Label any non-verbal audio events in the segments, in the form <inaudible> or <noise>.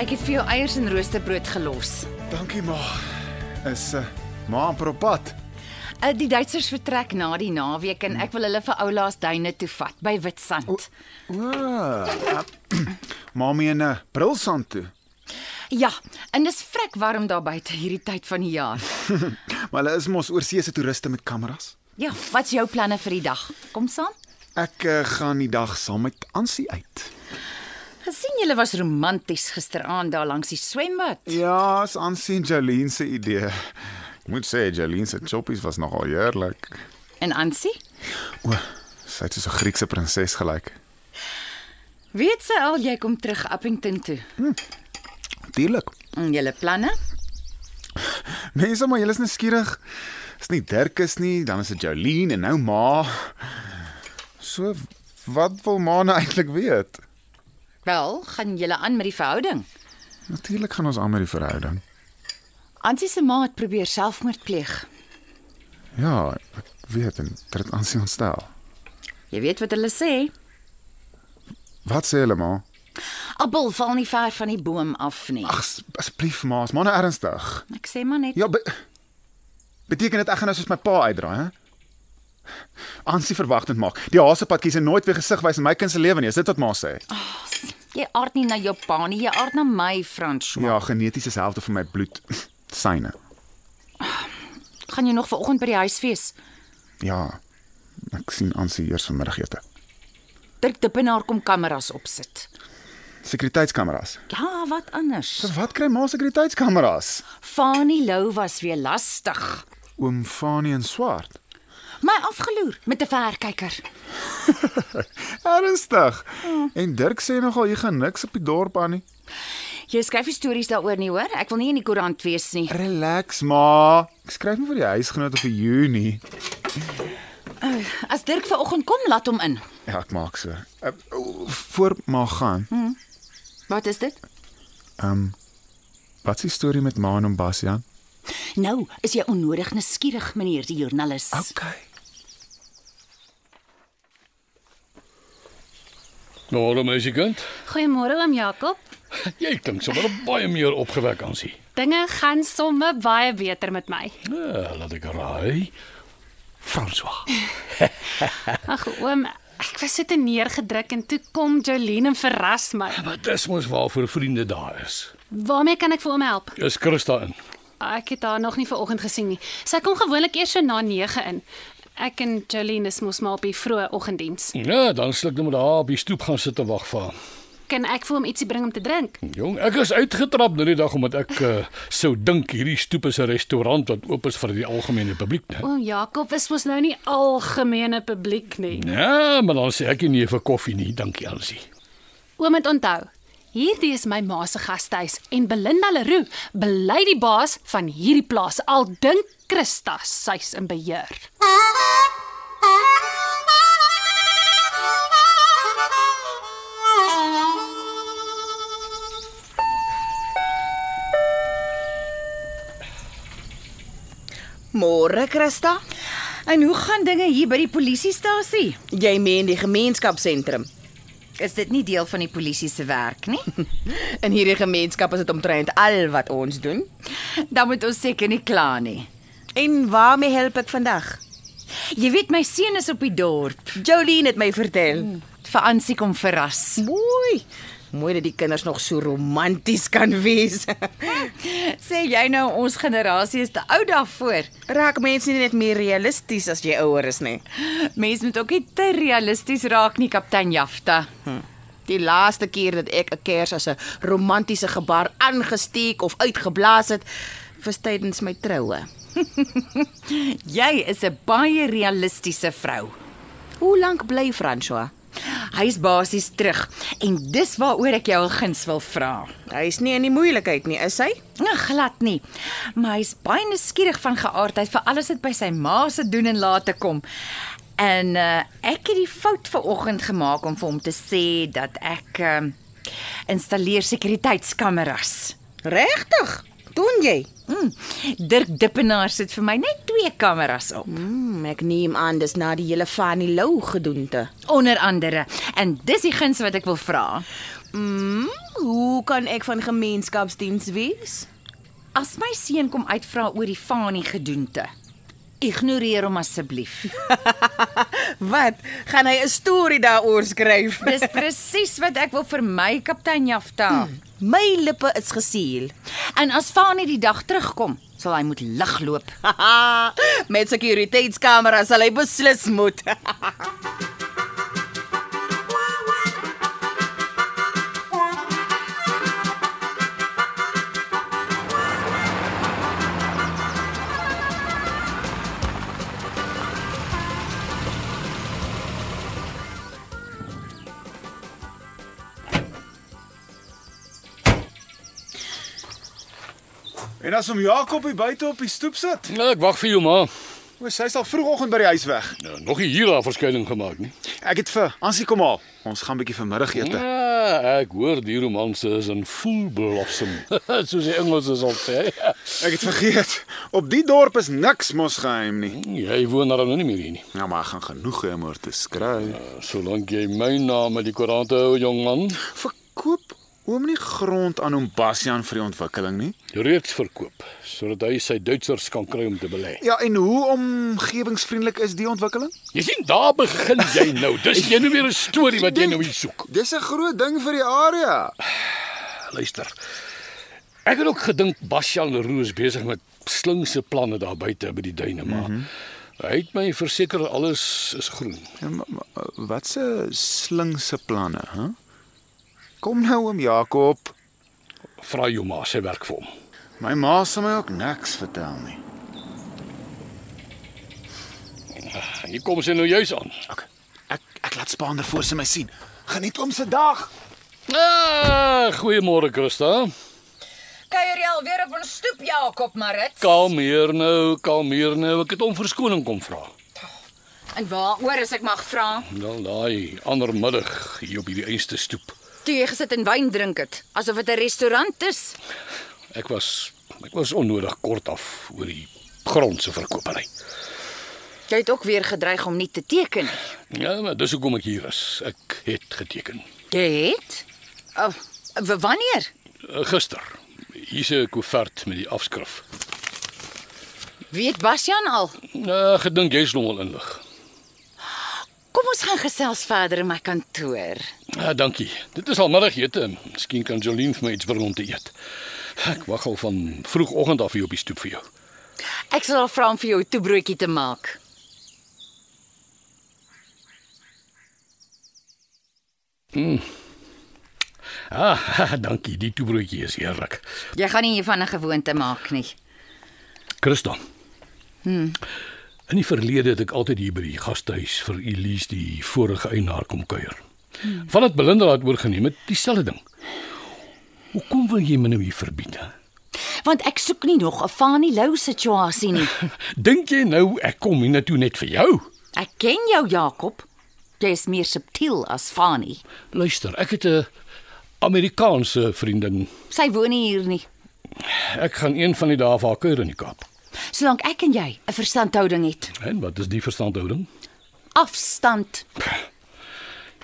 Ek het vir jou eiers en roosterbrood gelos. Dankie ma. Is uh, ma amper op pad. Uh, die Duitsers vertrek na die naweek en ek wil hulle vir Oulaas duine toe vat by Witstrand. Ah, ma meen uh, Brilsand toe. <laughs> Ja, en dis vrek warm daar buite hierdie tyd van die jaar. Maar hulle is mos oorsee se toeriste met kameras. Ja, wat's jou planne vir die dag? Kom saam. Ek uh, gaan die dag saam met Ansie uit. Gesien julle was romanties gisteraand daar langs die swembad. Ja, is Ansie en Jolene se idee. Ek moet sê Jolene se choppies was nogal heerlik. En Ansie, O, sy het soos 'n Griekse prinses gelyk. weet sy al jy kom terug Appington toe? Natuurlik. En Mm, julle planne? Mense, maar julle is nou skieurig. Is nie Dirkus nie, dan is dit Jolene en nou ma. So wat wil ma nou eintlik weet? Wel, gaan julle aan met die verhouding? Natuurlik gaan ons aan met die verhouding. Ansie se ma het probeer selfmoord pleeg. Ja, ek weet en dit het aansien ontstel. Jy weet wat hulle sê, Wat sê hulle ma? appel val nie ver van die boom af nie. Ag s- asseblief ma, is ma nou ernstig. Ek sê maar net, Ja, be beteken dit ek gaan nou soos my pa uitdraai, hè? Ansie verwagtend maak. Die haasepad kies en nooit weer gesig wys in my kind se lewe nie. Is dit wat ma sê? jy aard nie na jou pa nie, jy aard na my, François. Ja, geneties is helfte van my bloed. <laughs> Syne. Gaan jy nog vanoggend by die huis wees? Ja. Ek sien Ansie eers vanmiddagete. Dirk Dippenaar kom kameras opsit. Sekuriteitskameras. Ja, wat anders? So wat kry ma sekuriteitskameras? Fanie Lou was weer lastig. Oom Fanie en Swart. My afgeloer met 'n verkyker. Ernstig. En Dirk sê nogal jy gaan niks op die dorp aan nie. Jy skryf nie stories daaroor nie, hoor? Ek wil nie in die koerant wees nie. Relax ma. Ek skryf nie vir die huisgenoot of vir Junie. As Dirk vanoggend kom, laat hom in. Ja, ek maak so. Hm. Uh, o, Voor ma gaan. Wat is dit? Wat is die storie met ma en Ombasian? Nou, is jy onnodig nuuskierig, meneer die joernalis. Okay. Môre meisiekind. Goeiemôre oom Jakob. <laughs> Jy klink sommer baie meer opgewek aan sy. Dinge gaan somme baie beter met my. Ja, laat ek raai. François. Ag oom, ek was so te neergedruk en toe kom Jolene en verras my. Maar dis mos waarvoor vriende daar is. Waarmee kan ek vir oom help? Is Christa in. Ek het haar nog nie vanoggend gesien nie. Sy kom gewoonlik eers so na 9 in. Ek en Jolene is mos maar op die vroeë oggenddiens. Ja, dan sal ek net met haar op die stoep gaan sit en wag vir haar. Kan ek vir hom ietsie bring om te drink? Jong, ek is uitgetrap nou die dag omdat ek uh, sou dink hierdie stoep is 'n restaurant wat oop is vir die algemene publiek, né? Oom Jakob is mos nou nie algemene publiek nie. Ja, maar dan sê ek nie nee vir koffie nie, dankie Elsie. Oom het onthou. Hierdie is my ma se gastehuis en Belinda Leroux bely die baas van hierdie plaas. Al dink Christa sy's in beheer. Môre, Christa. En hoe gaan dinge hier by die polisiestasie? Jy meen die gemeenskapsentrum. Is dit nie deel van die polisie se werk nie? <laughs> In hierdie gemeenskap is dit omtrent al wat ons doen. Dan moet ons seker nie kla nie. En waarmee help ek vandag? Jy weet my seun is op die dorp. Jolene het my vertel. Vir Ansie kom verras. Mooi. Mooi dat die kinders nog so romanties kan wees. <laughs> Sê jy nou ons generasie is te oud daarvoor. Raak mense nie net meer realisties as jy ouer is nie. Mens moet ook nie te realisties raak nie, kaptein Jafta. Die laaste keer dat ek 'n kers as 'n romantiese gebaar aangesteek of uitgeblaas het, was tydens my troue. Jy is 'n baie realistiese vrou. Hoe lank bly François? Hy's basies terug en dis waaroor ek jou al guns wil vra. Hy's nie in die moeilikheid nie, is hy? Nou glad nie. Maar hy's baie nuuskierig van geaardheid vir alles wat by sy ma se doen en late kom. En uh, ek het die fout vanoggend gemaak om vir hom te sê dat ek uh, installeer sekuriteitskameras. Regtig? Doen jy? Mm. Dirk Dippenaar sit vir my net twee kameras op. Hmm, ek neem aan dis na die hele van die lou gedoente. Onder andere, en dis die guns wat ek wil vra. Hmm, hoe kan ek van gemeenskapsdiens wees? As my seun kom uitvra oor die fanie gedoente, ignoreer hom <laughs> asseblief. Wat? Gaan hy 'n storie daaroor skryf? Dis presies wat ek wil vermy, kaptein Jafta. Hmm. My lippe is gesiel. En as Fanie die dag terugkom, sal hy moet lig loop. Haha, <laughs> Met sekuriteitskamera sal hy beslis moet. <laughs> En as om Jakob hier buite op die stoep sit. Nou, ek wag vir jou maar. O, sy's al vroegoggend by die huis weg. Nou, nog nie hier daar verskyning gemaak nie. Ek het vir Ansie kom haal. Ons gaan 'n bietjie vanmiddagete. Ja, ek hoor die romanse is in full blossom, <laughs> soos die Engelsers al sê. <laughs> Ek het vergeet. Op die dorp is niks mos geheim nie. Jy woon daar nou nie meer hier nie. Nou maar ek gaan genoeg hê om oor te skryf. Solank jy my naam uit die koerant hou, jong man, Verkoop oom nie grond aan hom Bastian vir die ontwikkeling nie. reeds verkoop sodat hy sy Duitsers kan kry om te belê. Ja, en hoe omgewingsvriendelik is die ontwikkeling? Jy sien, daar begin jy nou. Dis jy nou weer 'n storie wat jy nou hier <laughs> soek. Dis 'n groot ding vir die area. Luister. Ek het ook gedink Basjal Leroux is besig met slinkse planne daar buite by die duine, maar mm -hmm. hy het my verseker alles is groen. Ja, maar- maar Wat se slinkse planne, hè? Huh? Kom nou oom Jakob. Vra jou ma, sy werk vir hom. My ma sal my ook niks vertel nie. Hier kom sy nou juis aan. Ek ek, ek laat Spaander voor sy my sien. Geniet oom se dag. Ah, goeiemôre Christa. Kuier jy al weer op 'n stoep, Jakob Marit? Kalm hier nou, kalm hier nou. Ek het om verskoning kom vra. En waaroor as ek mag vra? Dan daai ander middag hier op hierdie einste stoep. Toe jy gesit en wyn drink het, asof dit 'n restaurant is. Ek was ek was onnodig kort af oor die grond se verkopery. Jy het ook weer gedreig om nie te teken nie. Ja, maar dis hoekom ek hier is. Ek het geteken. Jy het? Oh, w- wanneer? Uh, Gister. Hier's 'n koevert met die afskrif. Weet Basjan al? Uh, gedink jy's nog wel inlig. Kom ons gaan gesels verder in my kantoor. Ah, dankie. Dit is al middagete en miskien kan Jolien vir my iets bring om te eet. Ek wag al van vroegoggend af hier op die stoep vir jou. Ek sal haar vra om vir jou 'n toebroodjie te maak. Ah, <laughs> dankie. Die toebroodjie is heerlik. Jy gaan nie hiervan 'n gewoonte maak nie. Christa. Hm. In die verlede het ek altyd hier by die gastehuis vir Elise die vorige eienaar kom kuier. Hmm. Van dit Belinda het oorgeneem het dieselfde ding. Hoekom wil jy my nou hier verbied? Hè? Want ek soek nie nog 'n Fanie Lou situasie <laughs> nie. Dink jy nou ek kom hiernatoe net vir jou? Ek ken jou Jakob. Jy is meer subtiel as Fanie. Luister, ek het 'n Amerikaanse vriendin. Sy woon nie hier nie. Ek gaan een van die dae vir haar kuier in die Kaap. Solank ek en jy 'n verstandhouding het. En wat is die verstandhouding? Afstand.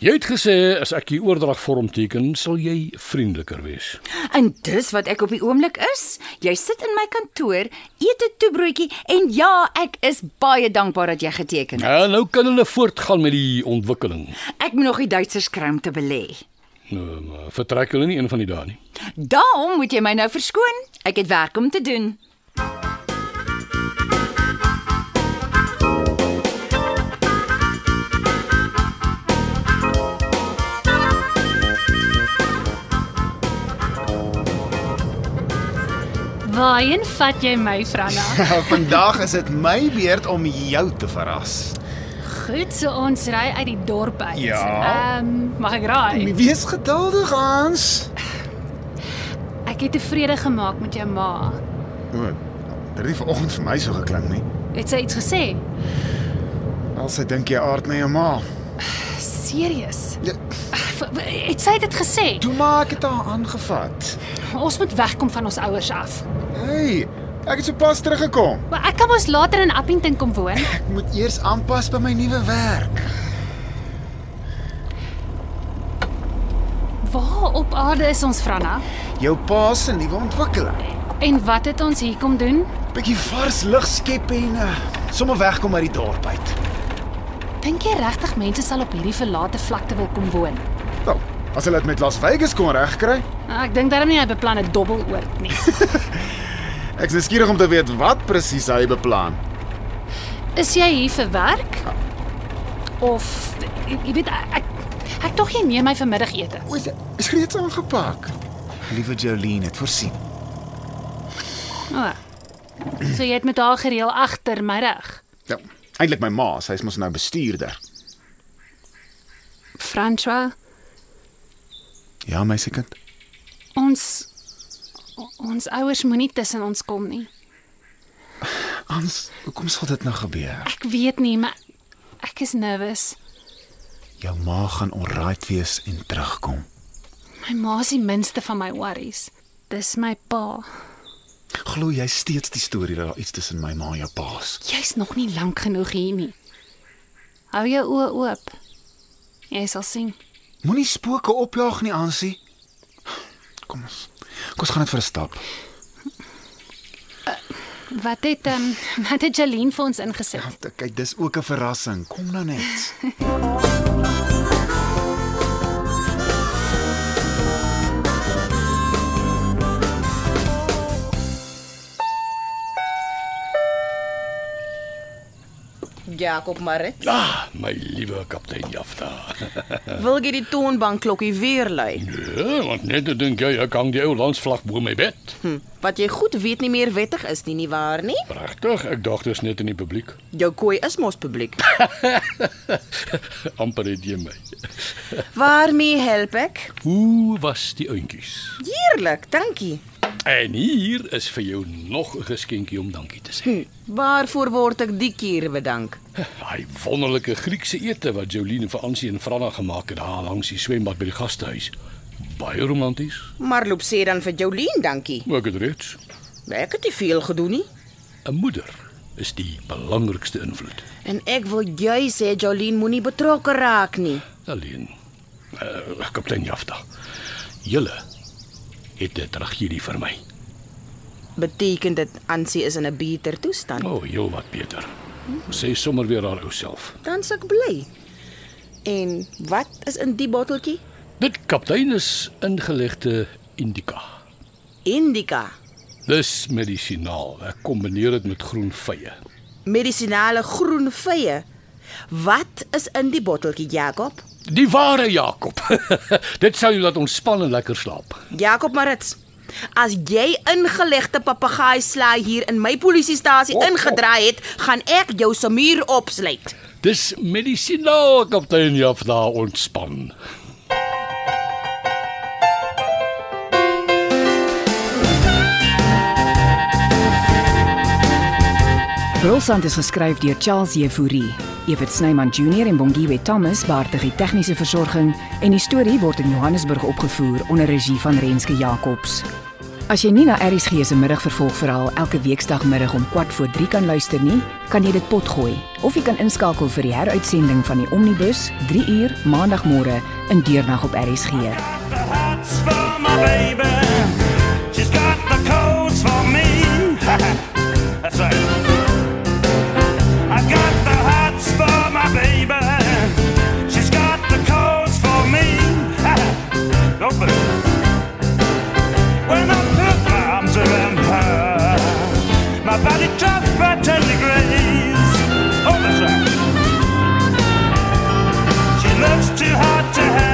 Jy het gesê as ek die oordragvorm teken, sal jy vriendeliker wees. En dis wat ek op die oomblik is. Jy sit in my kantoor, eet 'n toebroodjie en ja, ek is baie dankbaar dat jy geteken het. Ja, nou kan hulle voortgaan met die ontwikkeling. Ek moet nog die Duitsers kry om te belê. Nou, maar vertrek hulle nie een van die dae nie. Daarom moet jy my nou verskoon. Ek het werk om te doen. Wa, Waarheen vat jy my, <laughs> Franna? <laughs> Vandag is dit my beurt om jou te verras. Goed, so ons ry uit die dorp uit. Ja. Ehm, mag ek raai? Wees geduldig, Hans. Ek het tevrede gemaak met jou ma. O, dit het nie vanoggend vir my so geklink nie. Het sy iets gesê? Al sy dink jy aard na jou ma. Serius? Ja, V- w- Het sy dit gesê? toe maar ek het haar aangevat. Ons moet wegkom van ons ouers af. Hey, ek het sopas teruggekom. Maar ek kan mos later in Appington kom woon. Ek moet eers aanpas by my nuwe werk. Waar op aarde is ons, Franna? Jou pa se nuwe ontwikkeling. En wat het ons hier kom doen? Bietjie vars lug skep en uh, sommer wegkom uit die dorp uit. Dink jy regtig mense sal op hierdie verlate vlakte wil kom woon? Nou, as hulle dit met Las Vegas kon regkry, Nou, Ek dink daarom nie hy beplan 'n dobbeloord nie. ek is nuuskierig om te weet wat presies hy beplan. Is jy hier vir werk? Of jy weet ek ek tog jy neem my vanmiddagete. O, is, is reeds aangepak. Liewe Jolene het voorsien. O. So jy het met haar gereël agter my reg. Ja, eintlik my ma, sy is mos nou bestuurder. François, Ja, my sekind. ons ons ouers moenie tussen ons kom nie. Hans, hoekom sal dit nou gebeur? Ek weet nie, maar ek is nervus. Jou ma gaan onraait wees en terugkom. My ma is die minste van my worries. Dis my pa. Glo jy steeds die storie dat daar iets tussen my ma en jou pa is? Jy's nog nie lank genoeg hier nie. Hou jou oë oop. Jy sal sien. Moenie spooke opjaag nie, Ansie. Kom ons. Kom ons gaan net vir 'n stap. Wat het ehm <laughs> um, wat het Jaline vir ons ingesit? Kyk, dis ook 'n verrassing. Kom nou net. Jakob Marit. Ah, my liewe kaptein Jafta. <laughs> Wil jy die toonbank klokkie weer lui? Ja, want net te dink jy ek hang die ou landsvlag bo my bed. Hm, wat jy goed weet nie meer wettig is nie, nie waar nie? Pragtig, ek dacht dis net in die publiek. <laughs> Jou koei is mos publiek. Amper het jy my. <laughs> Waarmee help ek? Hoe was die ountjies? Heerlik, dankie. En hier is vir jou nog 'n geskenkie om dankie te sê. <laughs> Hm, waarvoor word ek die keer bedank? Daai wonderlike Griekse ete wat Jolene vir Ansie en Franna gemaak het daar langs die swembad by die gastehuis. Baie romanties. Maar loop sê dan vir Jolien dankie. Ook dit reeds. Ek het nie veel gedoen nie. 'n Moeder is die belangrikste invloed. En ek wil jy sê Jolien moenie betrokke raak nie. Alleen. Uh, kaptein Jafta. Julle het 'n tragedie vir my. Beteken dit Ansie is in 'n beter toestand? O, oh, heel wat beter. Sê sommer weer haar ou self. Dan's ek bly. En wat is in die botteltjie? Dit kaptein is ingelegde indica. Indica, Dis medisinaal. Ek kombineer dit met groen vye. medisinale groen vye. Wat is in die botteltjie, Jakob? Die ware Jakob. <laughs> dit sal jou laat ontspan en lekker slaap. Jakob Marits. As jy ingelegde papegaai slaai hier in my polisiestasie ingedraai het, gaan ek jou se muur opsluit. Dis medisinaal, kaptein Jafta, ontspan. Brolsand is geskryf deur Charles Jefouri. Evert Snyman Junior en Bongwe Thomas baartig die tegniese versorging en die storie word in Johannesburg opgevoer onder regie van Renske Jacobs. As jy nie na ERG se middagvervolgverhaal elke weekdagmiddag om 14:00 kan luister nie, kan jy dit potgooi of jy kan inskakel vir die heruitsending van die Omnibus 3 uur maandagmôre in deernag op ERG. got the hots for my baby. She's got the codes for me. <laughs> That's right. I got the hots for my baby. She's got the codes for me. <laughs> Go for it. When I put my arms around her, my body dropped by ten degrees. Oh, that's right. She looks too hot to handle. Oh,